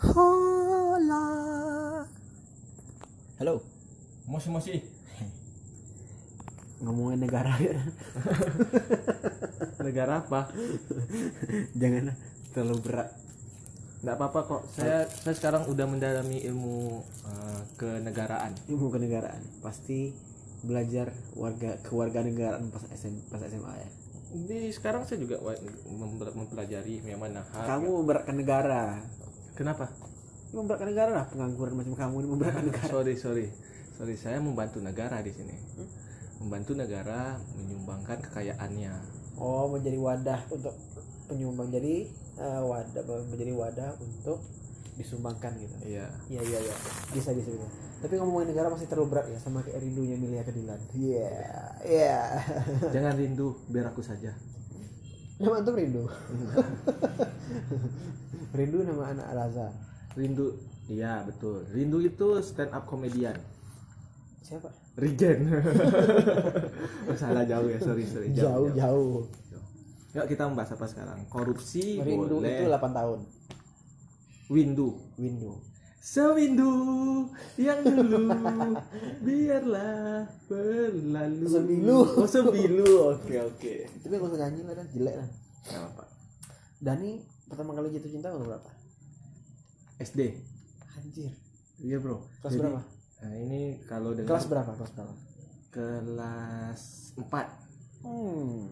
Hola. Halo. Mosi mosi. Ngomongin negara ya. Negara apa? Jangan terlalu berat. Nggak apa-apa kok. Saya saya sekarang udah mendalami ilmu eh, kenegaraan. Ilmu kenegaraan pasti belajar warga kewarganegaraan pas SM, pas SMA ya. Di sekarang saya juga wa- mem- mempelajari memang hal. Kamu memberatkan negara. Kenapa? Ini Memberatkan negara lah pengangguran macam kamu ini memberatkan negara. Sorry sorry sorry saya membantu negara di sini. Membantu negara menyumbangkan kekayaannya. Oh, menjadi wadah untuk penyumbang. Jadi eh, wadah menjadi wadah untuk disumbangkan gitu. Iya. Iya iya iya. Bisa bisa bisa. Tapi ngomongin negara masih terlalu berat ya sama kayak rindunya Milia ke Dilan. Iya. Iya. Jangan rindu biar aku saja. Nama antum rindu. rindu nama anak Al Azhar. Rindu. Iya betul. Rindu itu stand up komedian. Siapa? Regen. Oh, Salah jauh ya sorry sorry. Jauh jauh. Yuk kita membahas apa sekarang? Korupsi Rindu itu boleh. 8 tahun. Windu. Windu. Sewindu yang dulu biarlah berlalu. Sembilu. Oh sembilu. Oke oke. Tapi gak usah nyanyi lah dan jelek lah. Gak apa-apa. Dani pertama kali jatuh cinta umur berapa? SD. Anjir. Iya bro. Kelas berapa? Nah, ini kalau dengan Kelas berapa? Kelas berapa? kelas 4 Hmm.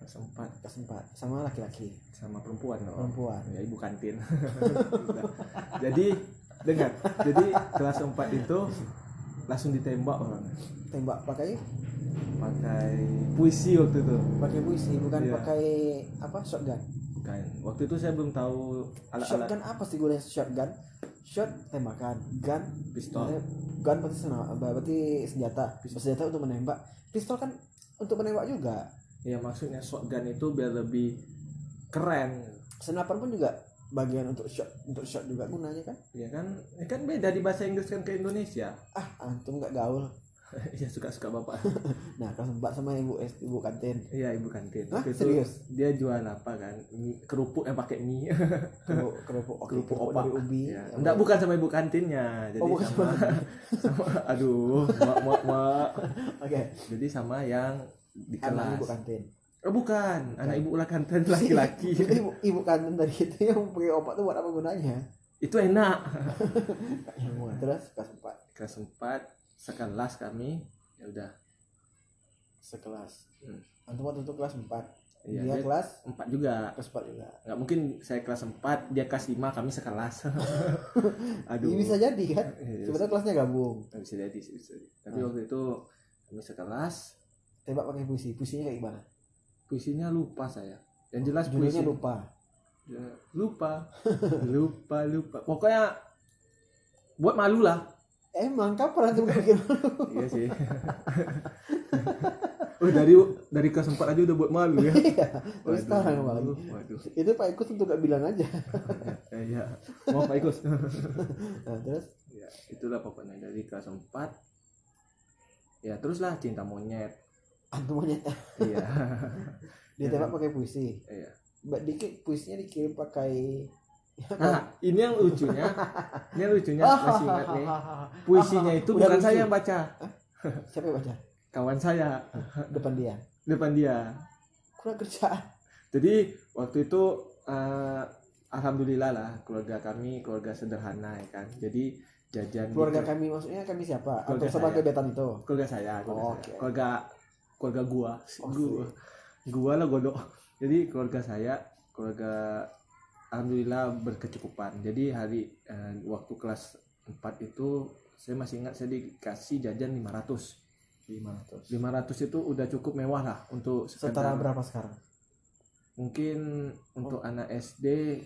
kelas 4 Kelas 4 sama laki-laki. sama perempuan loh. Perempuan. Ya ibu kantin. Udah. Jadi dengar. Jadi kelas 4 itu langsung ditembak orangnya. Tembak pakai pakai puisi waktu itu pakai puisi bukan Iya. pakai apa shotgun. bukan Kan. waktu itu saya belum tahu alat-alat Shotgun apa sih gue lihat shotgun? Shot tembakan, gun Pistol. eh, Gun berarti senjata, berarti senjata. Senjata untuk menembak. Pistol kan untuk menembak juga. ya maksudnya shotgun itu biar lebih keren Senapan pun juga bagian untuk shot untuk shot juga gunanya kan. ya kan ya kan beda di bahasa Inggris kan ke Indonesia Ah, antum nggak gaul. ya suka-suka bapak Nah, kelas 4 sama ibu es- ibu kantin. iya ibu kantin Hah, Waktu itu serius? dia jual apa kan Mie- kerupuk yang pakai mie Kerupuk kerupuk, oke, kerupuk opak dari ubi. Ya. Ya, enggak bukan sama ibu kantinnya jadi Oh, bukan sama, sama aduh mak mak mak Oke. jadi sama yang di Anak ibu kelas kantin. oh bukan anak ibu ulah kantin laki-laki Jadi ibu, ibu kantin tadi itu yang pakai opak tuh buat apa gunanya? itu enak Ilmu. Terus kelas 4 kelas 4 sekelas kami ya udah sekelas. Hmm. Antum waktu itu kelas 4. Iya, dia dia- kelas empat juga kelas 4 juga. nggak mungkin saya kelas 4 dia kelas 5 kami sekelas aduh Ini bisa jadi kan? Iya, Sebenarnya kelasnya gabung. nggak bisa jadi sih, bisa jadi. tapi Ah. waktu itu kami sekelas Tembak pakai puisi. Puisinya kayak gimana? puisinya lupa saya yang jelas puisi Judulnya lupa. Ya, lupa lupa lupa pokoknya buat malu lah Emang kapan antum bikin malu? iya sih Oh, dari dari kelas 4 aja udah buat malu ya. Iya. Terus sekarang malu. waduh, waduh. Itu Pak Ikut untuk gak bilang aja. Eh, Iya. Mau Pak Ikus. Nah, terus ya itulah pokoknya dari kelas 4 ya teruslah cinta monyet antum "Ah, monyet iya dia tembak pakai puisi. kan? iya Mbak dikit puisinya dikirim pakai nah ini yang lucunya ini yang lucunya Ah, masih ingat nih puisinya itu Udah bukan lucu. saya yang baca Siapa yang baca? kawan saya Depan dia. depan dia Kurang kerjaan. jadi waktu itu eh, alhamdulillah lah keluarga kami keluarga sederhana ya kan jadi jajan Keluarga gitu. kami maksudnya kami siapa? Atau Keluarga sama saya. gebetan itu? keluarga saya keluarga Oh, saya. oke. keluarga keluarga gua Oh, gua gua lah godok jadi keluarga saya keluarga alhamdulillah berkecukupan jadi hari eh, waktu kelas 4 itu saya masih ingat saya dikasih jajan 500 500. 500 itu udah cukup mewah lah untuk Setara sekedar- berapa Oh. sekarang? mungkin untuk anak SD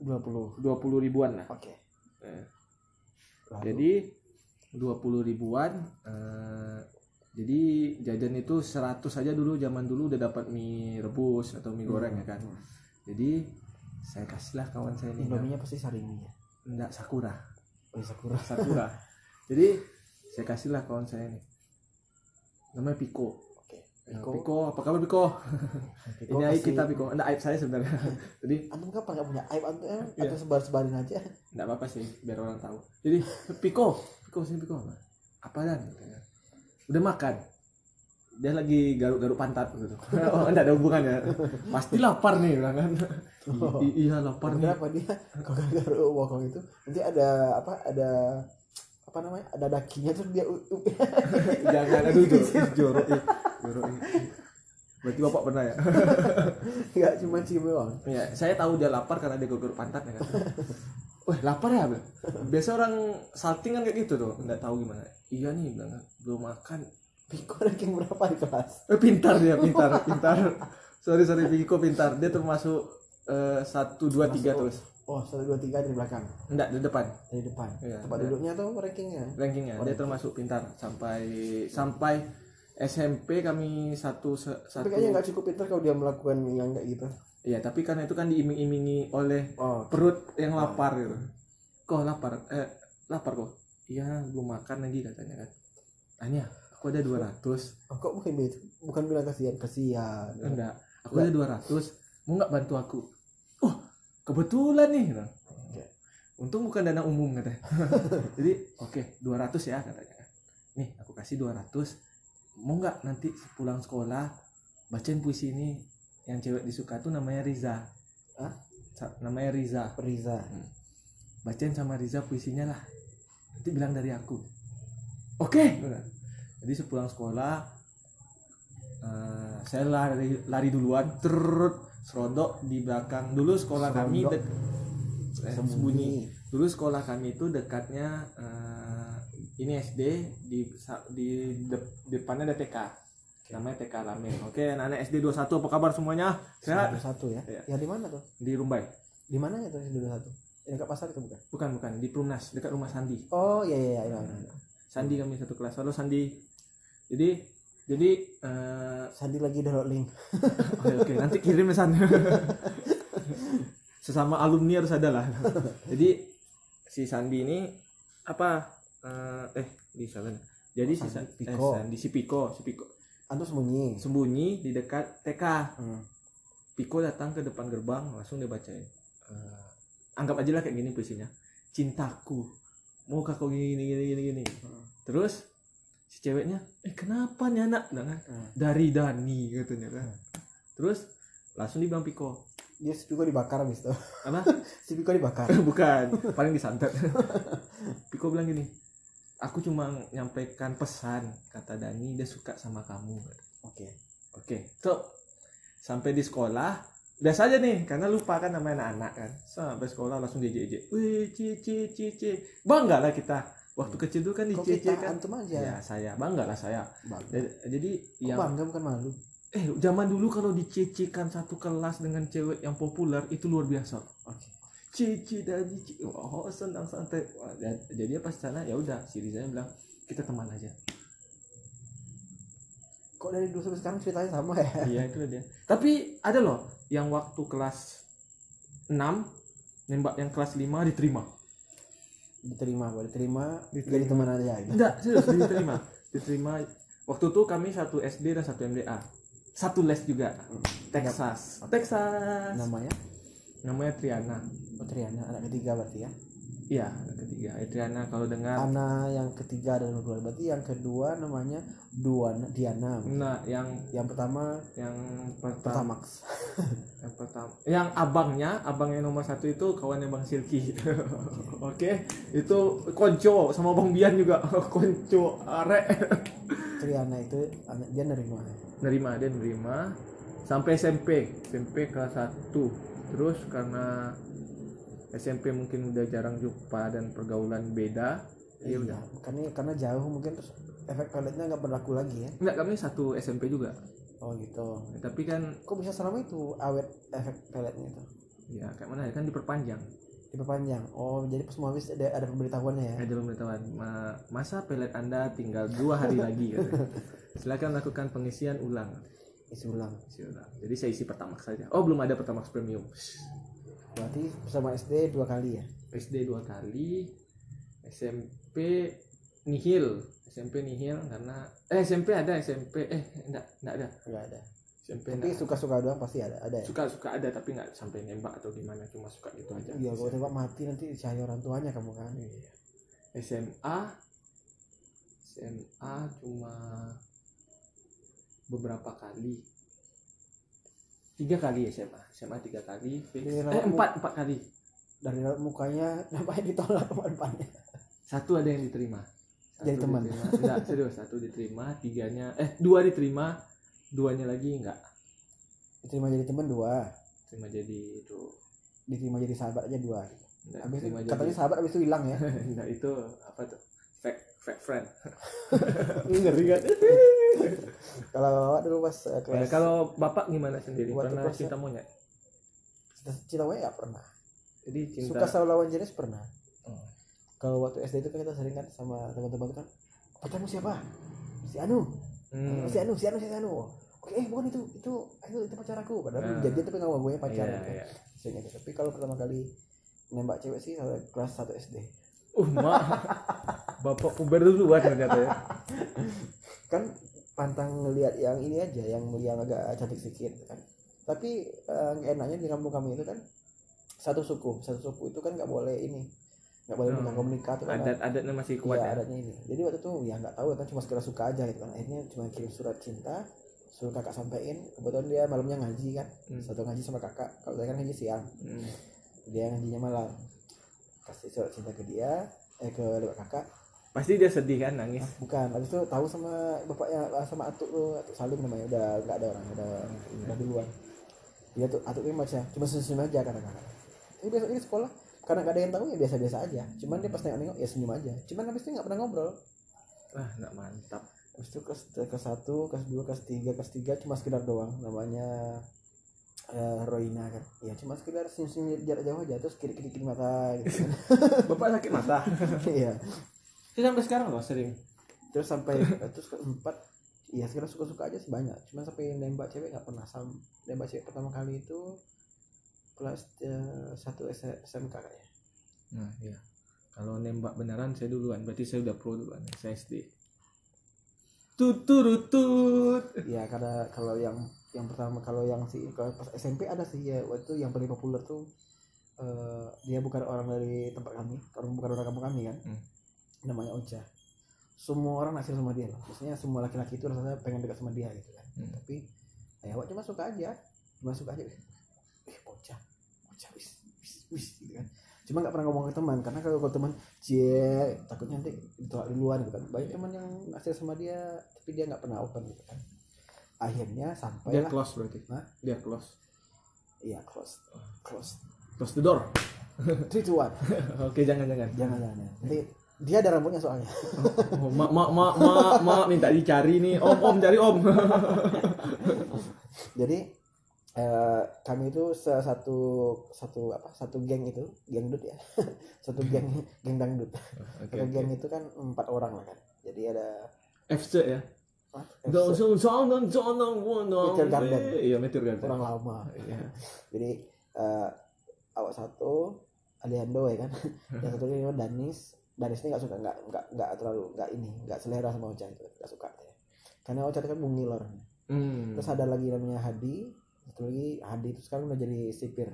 20. 20 ribuan lah Oke. Eh. Lalu, jadi 20 ribuan eh, jadi jajan itu 100 aja dulu zaman dulu udah dapat mie rebus atau mie Hmm. goreng ya kan jadi saya kasihlah kawan saya ini Indominya pasti sarimi ya. enggak sakura Oh, Sakura. sakura jadi saya kasihlah kawan saya ini namanya Piko Oke. Piko. Piko. apa kabar Piko? Piko ini aib kasih- kita Piko. Enggak aib saya sebenarnya. Jadi Antum kapan nggak punya aib antum eh, Iya. antum sebar-sebarin aja. enggak apa-apa sih biar orang tahu. Jadi Piko, Piko sini Piko apa? Apa dan? Katanya. Udah makan. Dia lagi garuk-garuk pantat gitu. oh, enggak ada hubungannya. Pasti lapar nih orang kan. I- i- iya lapar nih. Kenapa dia kalau gara-gara wokong itu nanti ada apa ada apa namanya ada dakinya terus dia u- u- Jangan aduh jorok, jorok. ih. Jorok. ih. Berarti Bapak pernah ya? nggak cuma cium doang. Ya, saya tahu dia lapar karena dia gugur pantatnya kan. Wah, lapar ya? Bel? Biasa orang salting kan kayak gitu tuh, nggak tahu gimana. Iya nih, bilang kan, belum makan. Piko ranking berapa di kelas? Eh, pintar dia, pintar, pintar. Sorry, sorry, Piko pintar. Dia termasuk eh, satu, dua, tiga Masuk. terus. Oh, satu dua tiga dari belakang, Enggak, di depan dari depan. Iya, Tempat iya. duduknya atau rankingnya? rankingnya. Dia termasuk pintar sampai sampai SMP kami satu se- Tapi satu. kayaknya nggak cukup pintar kalau dia melakukan yang nggak gitu. Iya, tapi karena itu kan diiming-imingi oleh Oh, perut yang lapar gitu. Kok lapar? Eh, lapar kok. Iya, belum makan lagi katanya kan. Tanya, aku ada 200. oh, kok bukan itu? Bukan bilang kasihan, kasihan. Enggak, aku ada 200. Mau nggak bantu aku? Oh, kebetulan nih. gitu. Oke. Untung bukan dana umum katanya. Jadi, oke, 200 ya katanya. kan. Nih, aku kasih 200. Mau nggak nanti pulang sekolah bacain puisi ini yang cewek disuka tuh namanya Riza. Hah? Sa- Namanya Riza. Riza. bacain sama Riza puisinya lah nanti bilang dari aku oke jadi sepulang sekolah eh, saya lari lari duluan terut serodok di belakang dulu sekolah kami Serodok. dek- eh, Sembunyi. sembunyi dulu sekolah kami itu dekatnya eh, ini SD di sa- di de- depannya ada TK namanya TK Lamin oke anak-anak SD 21 apa kabar semuanya sehat Satu satu ya. Iya. Ya di mana tuh? di Rumbai Di mana ya tuh yang dua satu? Yang dekat pasar itu bukan? bukan bukan di Perumnas dekat rumah Sandi Oh iya iya iya. iya, iya. Sandi kami satu kelas. Halo Sandi. Jadi jadi eh, Sandi lagi download link. oke oke, nanti kirim pesan. Sesama alumni harus ada lah. Jadi si Sandi ini apa eh, eh di sana. Jadi si Sandi, Sandi eh, Piko. Sandi si Piko, si Piko Antum sembunyi. sembunyi di dekat TK. Hmm. Piko datang ke depan gerbang langsung dia bacain. Eh, anggap aja lah kayak gini puisinya. Cintaku, mau kau gini gini gini gini. gini. Hmm. Terus si ceweknya, eh kenapa nih anak? Bilang kan, Hmm. dari Dani katanya kan. Terus langsung dibilang Piko, Dia si Piko dibakar abis itu. apa? Si Piko dibakar. Bukan, paling disantet. Piko bilang gini, aku cuma nyampaikan pesan kata Dani dia suka sama kamu. Oke. Oke, so sampai di sekolah udah saja nih karena lupa kan nama anak-anak kan sampai sekolah langsung diejek-ejek wih cie cie cie cie bangga lah kita waktu kecil dulu kan Hmm. Kok dicie kita kan antum aja? ya saya bangga lah saya Bangga. Dan- jadi Kok ya yang bangga bukan malu? eh zaman dulu kalau dicecekan satu kelas dengan cewek yang populer itu luar biasa Oke. cici dan cici oh senang santai Wah, dan- jadi pas sana ya udah si Rizanya bilang kita teman aja Kok dari dulu sampai sekarang ceritanya sama ya? iya itu dia tapi ada loh yang waktu kelas 6 nembak yang kelas 5 diterima Diterima, apa? diterima, Diterima. jadi teman aja gitu. enggak serius diterima diterima waktu itu kami satu SD dan satu MDA satu les juga Texas Texas Namanya namanya Triana ya? Oh, Triana, anak ketiga berarti ya. iya anak ketiga Eh, Triana kalau dengar Anak yang ketiga dan kedua berarti yang kedua namanya Duana Diana. Nah, yang Yang pertama yang pertama pertama, yang pertama, yang abangnya, abang yang nomor satu itu kawannya Bang Silky. Oke, itu konco sama Bang Bian juga konco arek. Triana itu anak dia nerima. nerima dia nerima sampai SMP SMP kelas 1 terus karena SMP mungkin udah jarang jumpa dan pergaulan beda ya udah Iya, Karena karena jauh mungkin terus efek peletnya nggak berlaku lagi ya. Enggak, kami satu SMP juga Oh gitu. tapi kan Kok bisa selama itu awet efek peletnya itu? ya kayak mana ya kan diperpanjang Diperpanjang. Oh jadi pas mau habis ada, ada pemberitahuannya ya. ada pemberitahuan "Ma- masa pelet anda tinggal dua hari lagi katanya. silakan lakukan pengisian ulang Isi ulang. Isi ulang. jadi saya isi pertamax saja oh belum ada pertamax premium Berarti sama SD dua kali ya. SD dua kali SMP nihil SMP nihil karena eh SMP ada SMP eh enggak enggak ada nggak ada SMP tapi enggak. suka suka doang pasti ada ada ya suka suka ada tapi nggak sampai nembak atau gimana cuma suka gitu aja iya kalau tembak mati nanti cahaya orang tuanya kamu kan Iya. SMA SMA cuma beberapa kali tiga kali SMA SMA tiga kali fix. Iya, eh aku- empat empat kali dari dalam mukanya namanya ditolak teman-temannya satu ada yang diterima satu Jadi teman. diterima. enggak serius satu diterima tiganya eh dua diterima duanya lagi enggak diterima jadi teman dua terima jadi itu diterima jadi sahabat aja dua enggak habis itu terima katanya sahabat habis itu hilang ya nah itu apa tuh fake fake friend ngeri kan kalau bawa dulu pas eh, Ya, kelas kalau bapak gimana sendiri Waktu pernah proses- cinta monyet cinta monyet nggak ya pernah jadi cinta suka sama lawan jenis pernah Oh. kalau waktu SD itu kan kita sering kan sama teman-teman kan pacarmu siapa si Anu Hmm. si Anu si Anu si Anu oke eh bukan itu itu itu itu pacar aku padahal Nah. belum jadian tapi nggak gue pacar Iya, gitu. iya. Sering gitu. tapi kalau pertama kali nembak cewek sih saat kelas 1 SD Uh, mak. Bapak puber duluan ternyata ya. kan pantang ngelihat yang ini aja yang yang agak cantik sedikit gitu kan tapi eh, enaknya di kampung kami itu kan satu suku satu suku itu kan nggak boleh ini nggak boleh Hmm. nikah komunikasi tuh kan Adat-adatnya masih kuat Iya, ya. adatnya ini. Jadi waktu itu ya nggak tahu kan cuma sekedar suka aja gitu kan. Akhirnya cuma kirim surat cinta, suruh kakak sampein. Kebetulan dia malamnya ngaji kan. Hmm. Satu ngaji sama kakak. Kalau saya kan ngaji siang, Hmm. dia ngajinya malam. Kasih surat cinta ke dia, eh ke lewat kakak. Pasti dia sedih kan nangis. Bukan, habis itu tahu sama bapaknya sama atuk lu, atuk Salim namanya udah nggak ada orang, udah udah duluan. Iya, Dia tuh atuknya macam cuma senyum aja kata kakak. Ini besok ini sekolah karena nggak ada yang tahu ya biasa-biasa aja. Cuman dia pas nengok-nengok ya senyum aja. Cuman habis itu nggak pernah ngobrol. Ah, nggak mantap. Habis itu kelas, kelas 1, kelas 2, kelas 3, kelas 3 cuma sekedar doang namanya eh, Roina kan. Ya cuma sekedar senyum-senyum jarak jauh aja terus kiri-kiri mata gitu. kan. Bapak sakit mata. Iya. Itu sampai sekarang loh sering. terus sampai eh, terus keempat ya sekarang suka-suka aja sih banyak cuma sampai nembak cewek nggak pernah sam nembak cewek pertama kali itu kelas eh, satu S- SMK kayaknya Nah, iya. Kalau nembak beneran saya duluan, berarti saya udah pro duluan. Saya SD. Tuturutut. ya karena kalau yang yang pertama kalau yang si kalau pas SMP ada sih ya waktu itu yang paling populer tuh eh, dia bukan orang dari tempat kami orang bukan orang kampung kami kan Hmm. namanya Ocha semua orang naksir sama dia loh maksudnya semua laki-laki itu rasanya pengen dekat sama dia gitu kan Hmm. tapi ya awak cuma suka aja cuma suka aja eh Ocha Ocha wis wis wis gitu kan cuma nggak pernah ngomong ke teman karena kalau ke teman cie takutnya nanti ditolak duluan gitu kan banyak teman yang naksir sama dia tapi dia nggak pernah open gitu kan akhirnya Dia sampailah close berarti. Hah? Dia close. iya close close Close the door. three two one Oke, jangan-jangan. jangan jangan jangan. nanti dia ada rambutnya soalnya Oh, mak, mak, mak, mak, mak, minta dicari nih. Om, om, cari om. jadi eh, kami itu se- satu satu apa satu geng itu geng dut ya satu geng geng dangdut Oke, satu oke. geng itu kan empat orang lah kan jadi ada FC ya. ah, Dong song song dong song dong wong dong. Meteor Garden. Eh, Iya Meteor Garden. orang lama Iya. jadi eh, awak satu Alejandro ya kan yang satu ini Danis Danis ini nggak suka nggak nggak nggak terlalu nggak ini nggak selera sama Ocha itu nggak suka ya. karena Ocha itu kan mungil orangnya. Hmm. terus ada lagi namanya Hadi satu lagi Hadi itu sekarang udah jadi sipir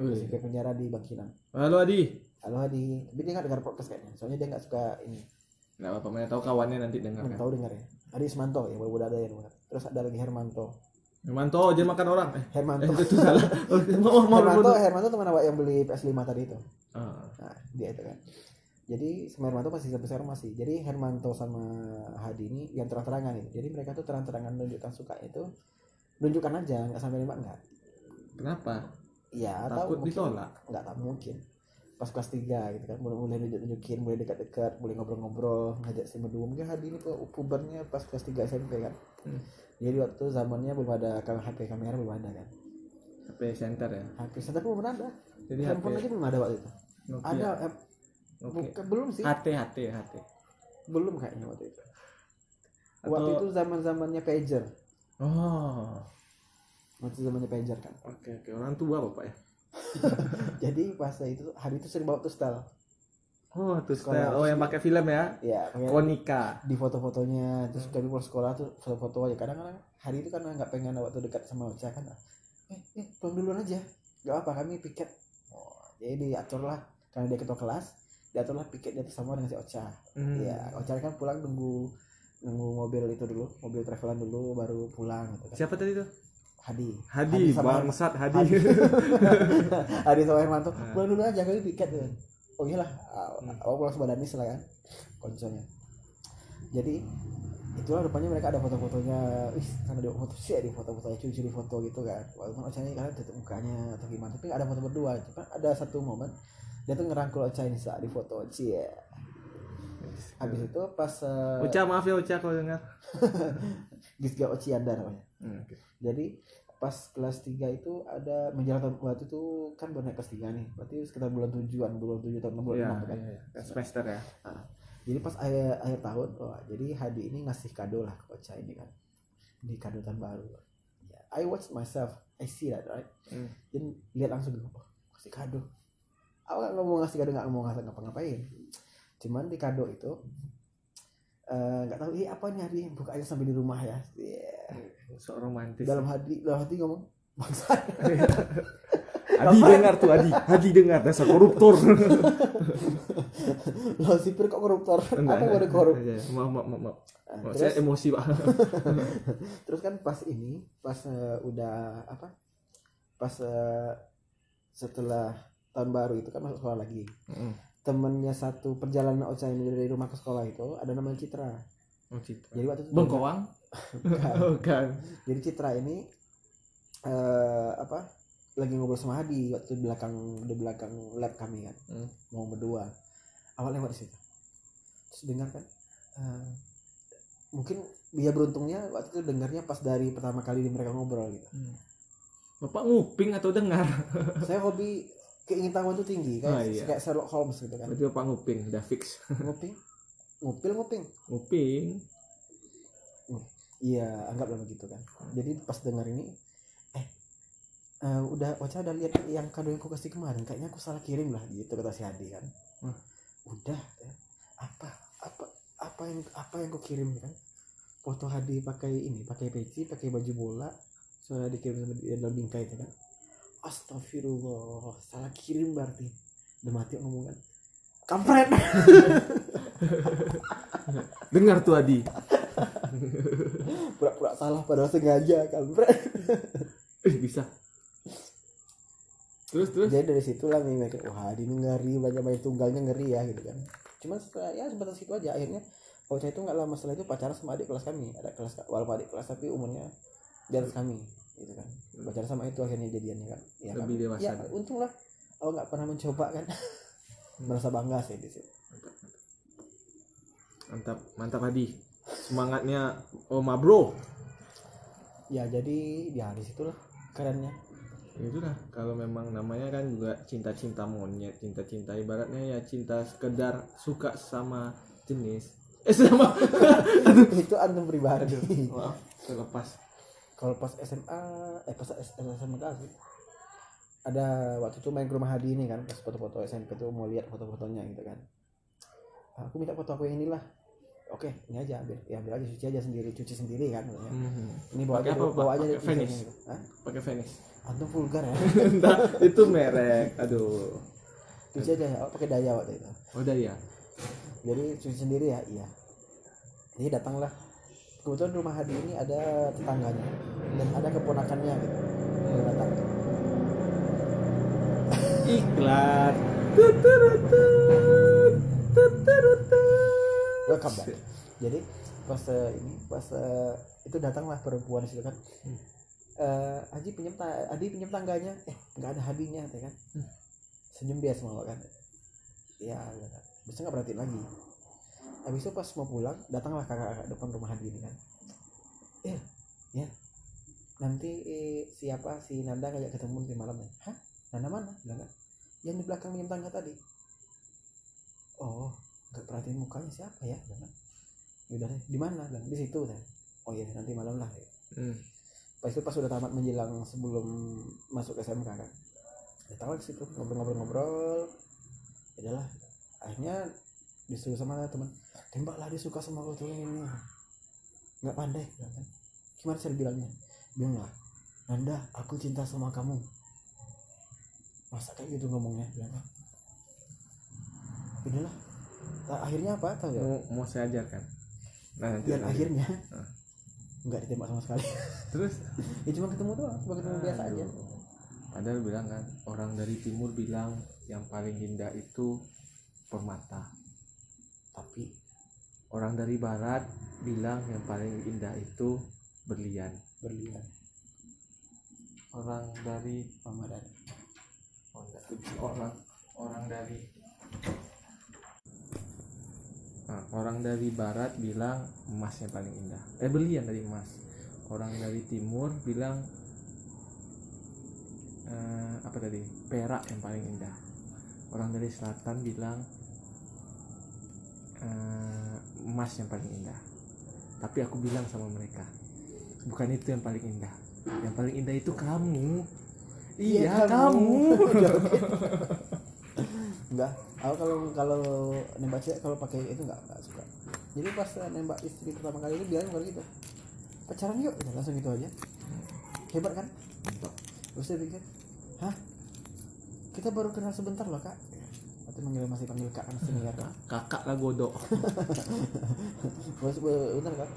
Wih. sipir penjara di Bangkinang Halo Adi. halo Hadi tapi dia nggak dengar podcast kayaknya soalnya dia nggak suka ini Nggak apa-apa, mana tahu kawannya nanti dengar nggak kan. tahu dengar ya Hadi Ismanto ya baru ada yang dengar terus ada lagi Hermanto Manto, jangan makan orang. Eh, eh, Hermanto itu tuh salah. Oh, Maaf, maaf, Hermanto maaf. Hermanto teman awak yang beli PS5 tadi itu Ah, Nah, dia itu kan. Jadi sama Hermanto masih sampai sekarang masih. Jadi Hermanto sama Hadi ini yang terang-terangan ini. Jadi mereka tuh terang-terangan menunjukkan suka itu nunjukkan aja nggak sampai nembak nggak. Kenapa? Ya Takut atau mungkin ditolak. nggak tak mungkin. Pas kelas 3 gitu kan mulai, mulai nunjuk-nunjukin, mulai dekat-dekat, mulai ngobrol-ngobrol, ngajak si berdua. Mungkin Hadi ini pu- pubernya pas kelas 3 SMP kan. Hmm. Jadi waktu itu zamannya belum ada kam- HP kamera belum ada kan. HP center ya. HP sebentar belum ada. Jadi HP Handphone aja belum ada waktu itu. Ada Nokia. eh, Oke. bukan- belum sih. HT, HT, HT. belum kayaknya waktu itu Atau- waktu itu zaman zamannya pager Oh. waktu zamannya pager kan Oke, oke. Orang tua Bapak ya. jadi pas itu hari itu sering bawa tuh style Oh, tuh Sekolah. Oh, yang pakai film ya. ya pengen Konika. di foto-fotonya Hmm. terus kami pulang sekolah tuh foto-foto aja kadang-kadang hari itu karena nggak pengen waktu dekat sama Ocha kan eh, eh pulang duluan aja nggak apa kami piket oh, jadi diaturlah karena dia ketua kelas diaturlah piket dia sama dengan si Ocha Hmm. Iya, Ocha kan pulang nunggu nunggu mobil itu dulu, mobil travelan dulu baru pulang gitu kan. Siapa tadi tuh? Hadi. Hadi, sama bangsat Hadi. Hadi. Hadi sama Hermanto, Nah. pulang dulu aja kali piket kan. Oh iyalah, Hmm. awal pulang sebadani lah kan. Konsolnya. Jadi itulah rupanya mereka ada foto-fotonya wih sama dia foto sih di foto-fotonya curi-curi foto gitu kan walaupun Ocanya kalian tutup mukanya atau gimana tapi nggak ada foto berdua cuma ada satu momen dia tuh ngerangkul Ocha ini saat di foto Cie habis itu pas eh, Iya. Ocha maaf ya Ocha kalau dengar. Gisga Ocianda namanya. Hmm. Jadi pas kelas 3 itu ada menjalankan waktu itu kan baru naik kelas 3 nih. Berarti sekitar bulan 7-an, bulan 7 tahun bulan Iya, 6 kan. iya, iya. semester ya. Ah. Jadi pas akhir, akhir tahun, wah, jadi Hadi ini ngasih kado lah ke Ocha ini kan. Di kado tahun baru. Ya, I watch myself, I see that right. Hmm. Jadi lihat langsung gitu, oh, kasih kado. Aku nggak mau ngasih kado, nggak mau ngasih ngapa-ngapain. Cuman di kado itu eh, nggak tahu, eh apa nih Hadi buka aja sambil di rumah ya. Iya. Sok romantis. dalam hati dalam hati ngomong bangsa Iya. Hadi dengar tuh Hadi. Hadi dengar dasar koruptor. lo sipir kok koruptor apa baru korup Iya, iya. Maaf, maaf, maaf. Nah, maaf. Maaf, terus Saya emosi, Pak. terus kan pas ini pas eh, udah apa pas eh, setelah tahun baru itu kan masuk sekolah lagi Heeh. temennya satu perjalanan Ocha ini dari rumah ke sekolah itu ada namanya Citra Oh, Citra. jadi waktu itu Bengkoang? Bukan. Oh, kan. jadi Citra ini eh apa lagi ngobrol sama Hadi waktu di belakang di belakang lab kami kan Hmm. mau berdua awal lewat di situ terus dengar kan eh, mungkin dia beruntungnya waktu itu dengarnya pas dari pertama kali mereka ngobrol gitu Hmm. Bapak nguping atau dengar? saya hobi keingintahuan tuh tinggi kayak Ah, iya. kayak Sherlock Holmes gitu kan Berarti Bapak nguping, udah fix. nguping ngupil nguping Nguping. iya anggaplah begitu kan jadi pas dengar ini eh eh, udah Ocha udah lihat yang kado yang aku kasih kemarin kayaknya aku salah kirim lah gitu kata si Hadi kan Wah. udah ya. apa apa apa yang apa yang kau kirim kan foto Hadi pakai ini pakai peci pakai baju bola soalnya dikirim sama dia dalam bingkai itu kan Astagfirullah salah kirim berarti udah mati ngomong kan kampret Dengar tuh Hadi. pura-pura salah padahal sengaja kampret Ih, Eh, bisa. Terus, terus. jadi dari situ lah nih mereka wah ini ngeri banyak banyak tunggalnya ngeri ya gitu kan cuman setelah ya sebatas itu aja akhirnya kalau saya itu nggak lama setelah itu pacaran sama adik kelas kami ada kelas walaupun adik kelas tapi umurnya di atas kami gitu kan pacaran sama itu akhirnya jadiannya kan ya Lebih kan? dewasa. ya untung lah kalau nggak pernah mencoba kan merasa bangga sih di situ Mantap, mantap Hadi. Semangatnya Oma Bro. ya jadi ya di situlah kerennya Ya itulah kalau memang namanya kan juga cinta-cinta monyet, cinta-cinta ibaratnya ya cinta sekedar suka sama jenis. Eh sama. itu antum pribadi Maaf, terlepas. kalau pas SMA eh pas S- SMA sih ada waktu itu main ke rumah Hadi ini kan pas foto-foto SMP tuh mau lihat foto-fotonya gitu kan Ah, aku minta foto aku yang inilah oke ini aja ambil ya ambil aja cuci aja sendiri cuci sendiri kan katanya. Hmm. ini bawa Pakai aja apa, dulu, bawa Pak? aja Pakai dulu Venice? misalnya gitu. Hah? Pakai Venice. antum vulgar ya Entah, itu merek. Aduh. cuci aja ya oh, pakai daya waktu itu Udah ya. jadi cuci sendiri ya iya jadi datanglah kebetulan rumah Hadi ini ada tetangganya dan ada keponakannya gitu yang datang Iklan. Tuturutut. Tuturutut. welcome back jadi pas eh, ini pas eh, itu datanglah perempuan di situ kan Eh, Haji pinjam ta- Adi pinjam tangganya eh nggak ada hadinya ya kan senyum dia semua kan ya ya, kan. bisa nggak perhatiin lagi habis itu pas mau pulang datanglah kakak-kakak depan rumah Hadi ini kan eh ya nanti eh, siapa si Nanda ngajak ketemu nanti malam ya hah Nanda mana bilang kan yang di belakang pinjam tangga tadi oh nggak perhatiin mukanya siapa ya bilang kan "Ya udah deh di mana bilang di situ kan oh iya nanti malam lah Hmm. pas itu pas udah tamat menjelang sebelum masuk SMK kan datang lagi situ ngobrol-ngobrol-ngobrol ya udahlah akhirnya disuruh sama teman tembaklah dia suka sama kau tuh ini ini." nggak pandai bilang kan gimana cara bilangnya bilanglah Nanda aku cinta sama kamu masa kayak gitu ngomongnya bilang kan udahlah Ta- akhirnya apa tahu nggak? mau, mau saya ajarkan nah nanti dan Iya, lanjut. akhirnya Ah. nggak ditembak sama sekali terus ya cuma ketemu doang cuma ketemu biasa aja Ah, Aduh. padahal bilang kan orang dari timur bilang yang paling indah itu permata tapi orang dari barat bilang yang paling indah itu berlian berlian orang dari sama dan Oh, enggak. orang orang dari Nah, orang dari barat bilang emas yang paling indah eh berlian dari emas orang dari timur bilang eh, apa tadi perak yang paling indah orang dari selatan bilang eh, emas yang paling indah tapi aku bilang sama mereka bukan itu yang paling indah yang paling indah itu kamu iya, kamu. enggak aku kalau kalau nembak cewek kalau pakai itu enggak enggak suka jadi pas saya nembak istri pertama kali itu bilang kalau gitu pacaran yuk Udah, langsung gitu aja hebat kan terus saya pikir hah kita baru kenal sebentar loh kak atau manggil masih panggil kak kan masih manggil kak kakak lah godok Terus, eh, bentar kak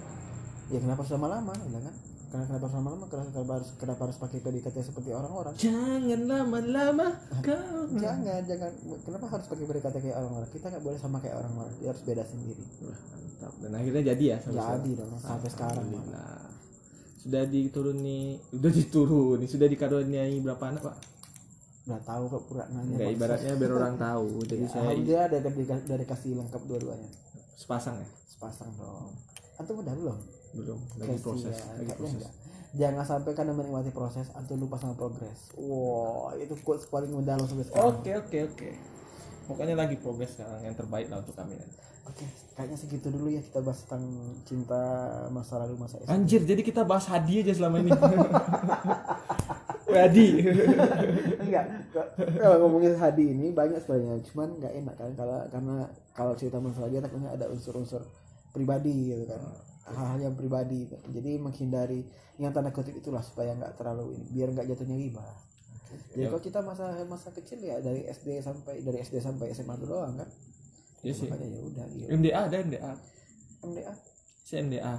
ya kenapa harus lama-lama ya kan karena kenapa harus lama-lama kenapa, kenapa harus kenapa harus pakai PDKT seperti orang-orang jangan lama-lama kau jangan jangan kenapa harus pakai PDKT kayak orang-orang kita nggak boleh sama kayak orang-orang dia harus beda sendiri Wah, mantap dan akhirnya jadi ya sampai jadi sekarang? dong sampai sekarang malah. Alhamdulillah. sudah dituruni sudah dituruni sudah dikaruniai berapa anak pak udah tahu kok pura nanya Enggak, Pak. ibaratnya biar orang tahu jadi saya alhamdulillah ada dari, dari kasih lengkap dua-duanya sepasang ya sepasang dong antum udah belum belum lagi Kasih proses iya. ya, lagi kayaknya proses enggak. jangan sampai karena menikmati proses antum lupa sama progres wow itu quotes paling mendalam sampai sekarang oke oke oke pokoknya lagi progres sekarang yang terbaik lah untuk kami nanti. oke kayaknya segitu dulu ya kita bahas tentang cinta masa lalu masa SD anjir jadi kita bahas hadiah aja selama ini Hadi enggak kok- Iya, kalau ngomongin Hadi ini banyak sebenarnya cuman nggak enak kan kalau karena kalau cerita masalah dia takutnya ada unsur-unsur pribadi gitu kan hal-hal yang pribadi gitu. jadi menghindari yang tanda kutip itulah supaya nggak terlalu ini biar nggak jatuhnya riba Ya, jadi kalau kita masa masa kecil ya dari SD sampai dari SD sampai SMA itu doang kan ya sih makanya ya udah iya MDA ada MDA MDA saya MDA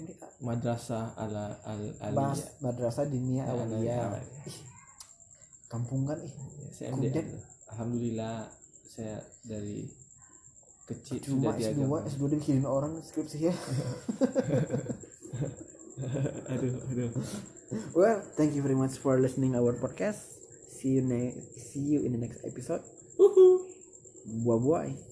MDA ah, madrasah ala al Bas, alia Madrasah Dinia Awalia kampung kan ih saya MDA Kemudian? ya, alhamdulillah saya dari kecil cuma sudah S2 diajar S2 dibikinin orang skripsi ya aduh aduh Well, thank you very much for listening our podcast. See you next. See you in the next episode. Uhuh. Bye bye.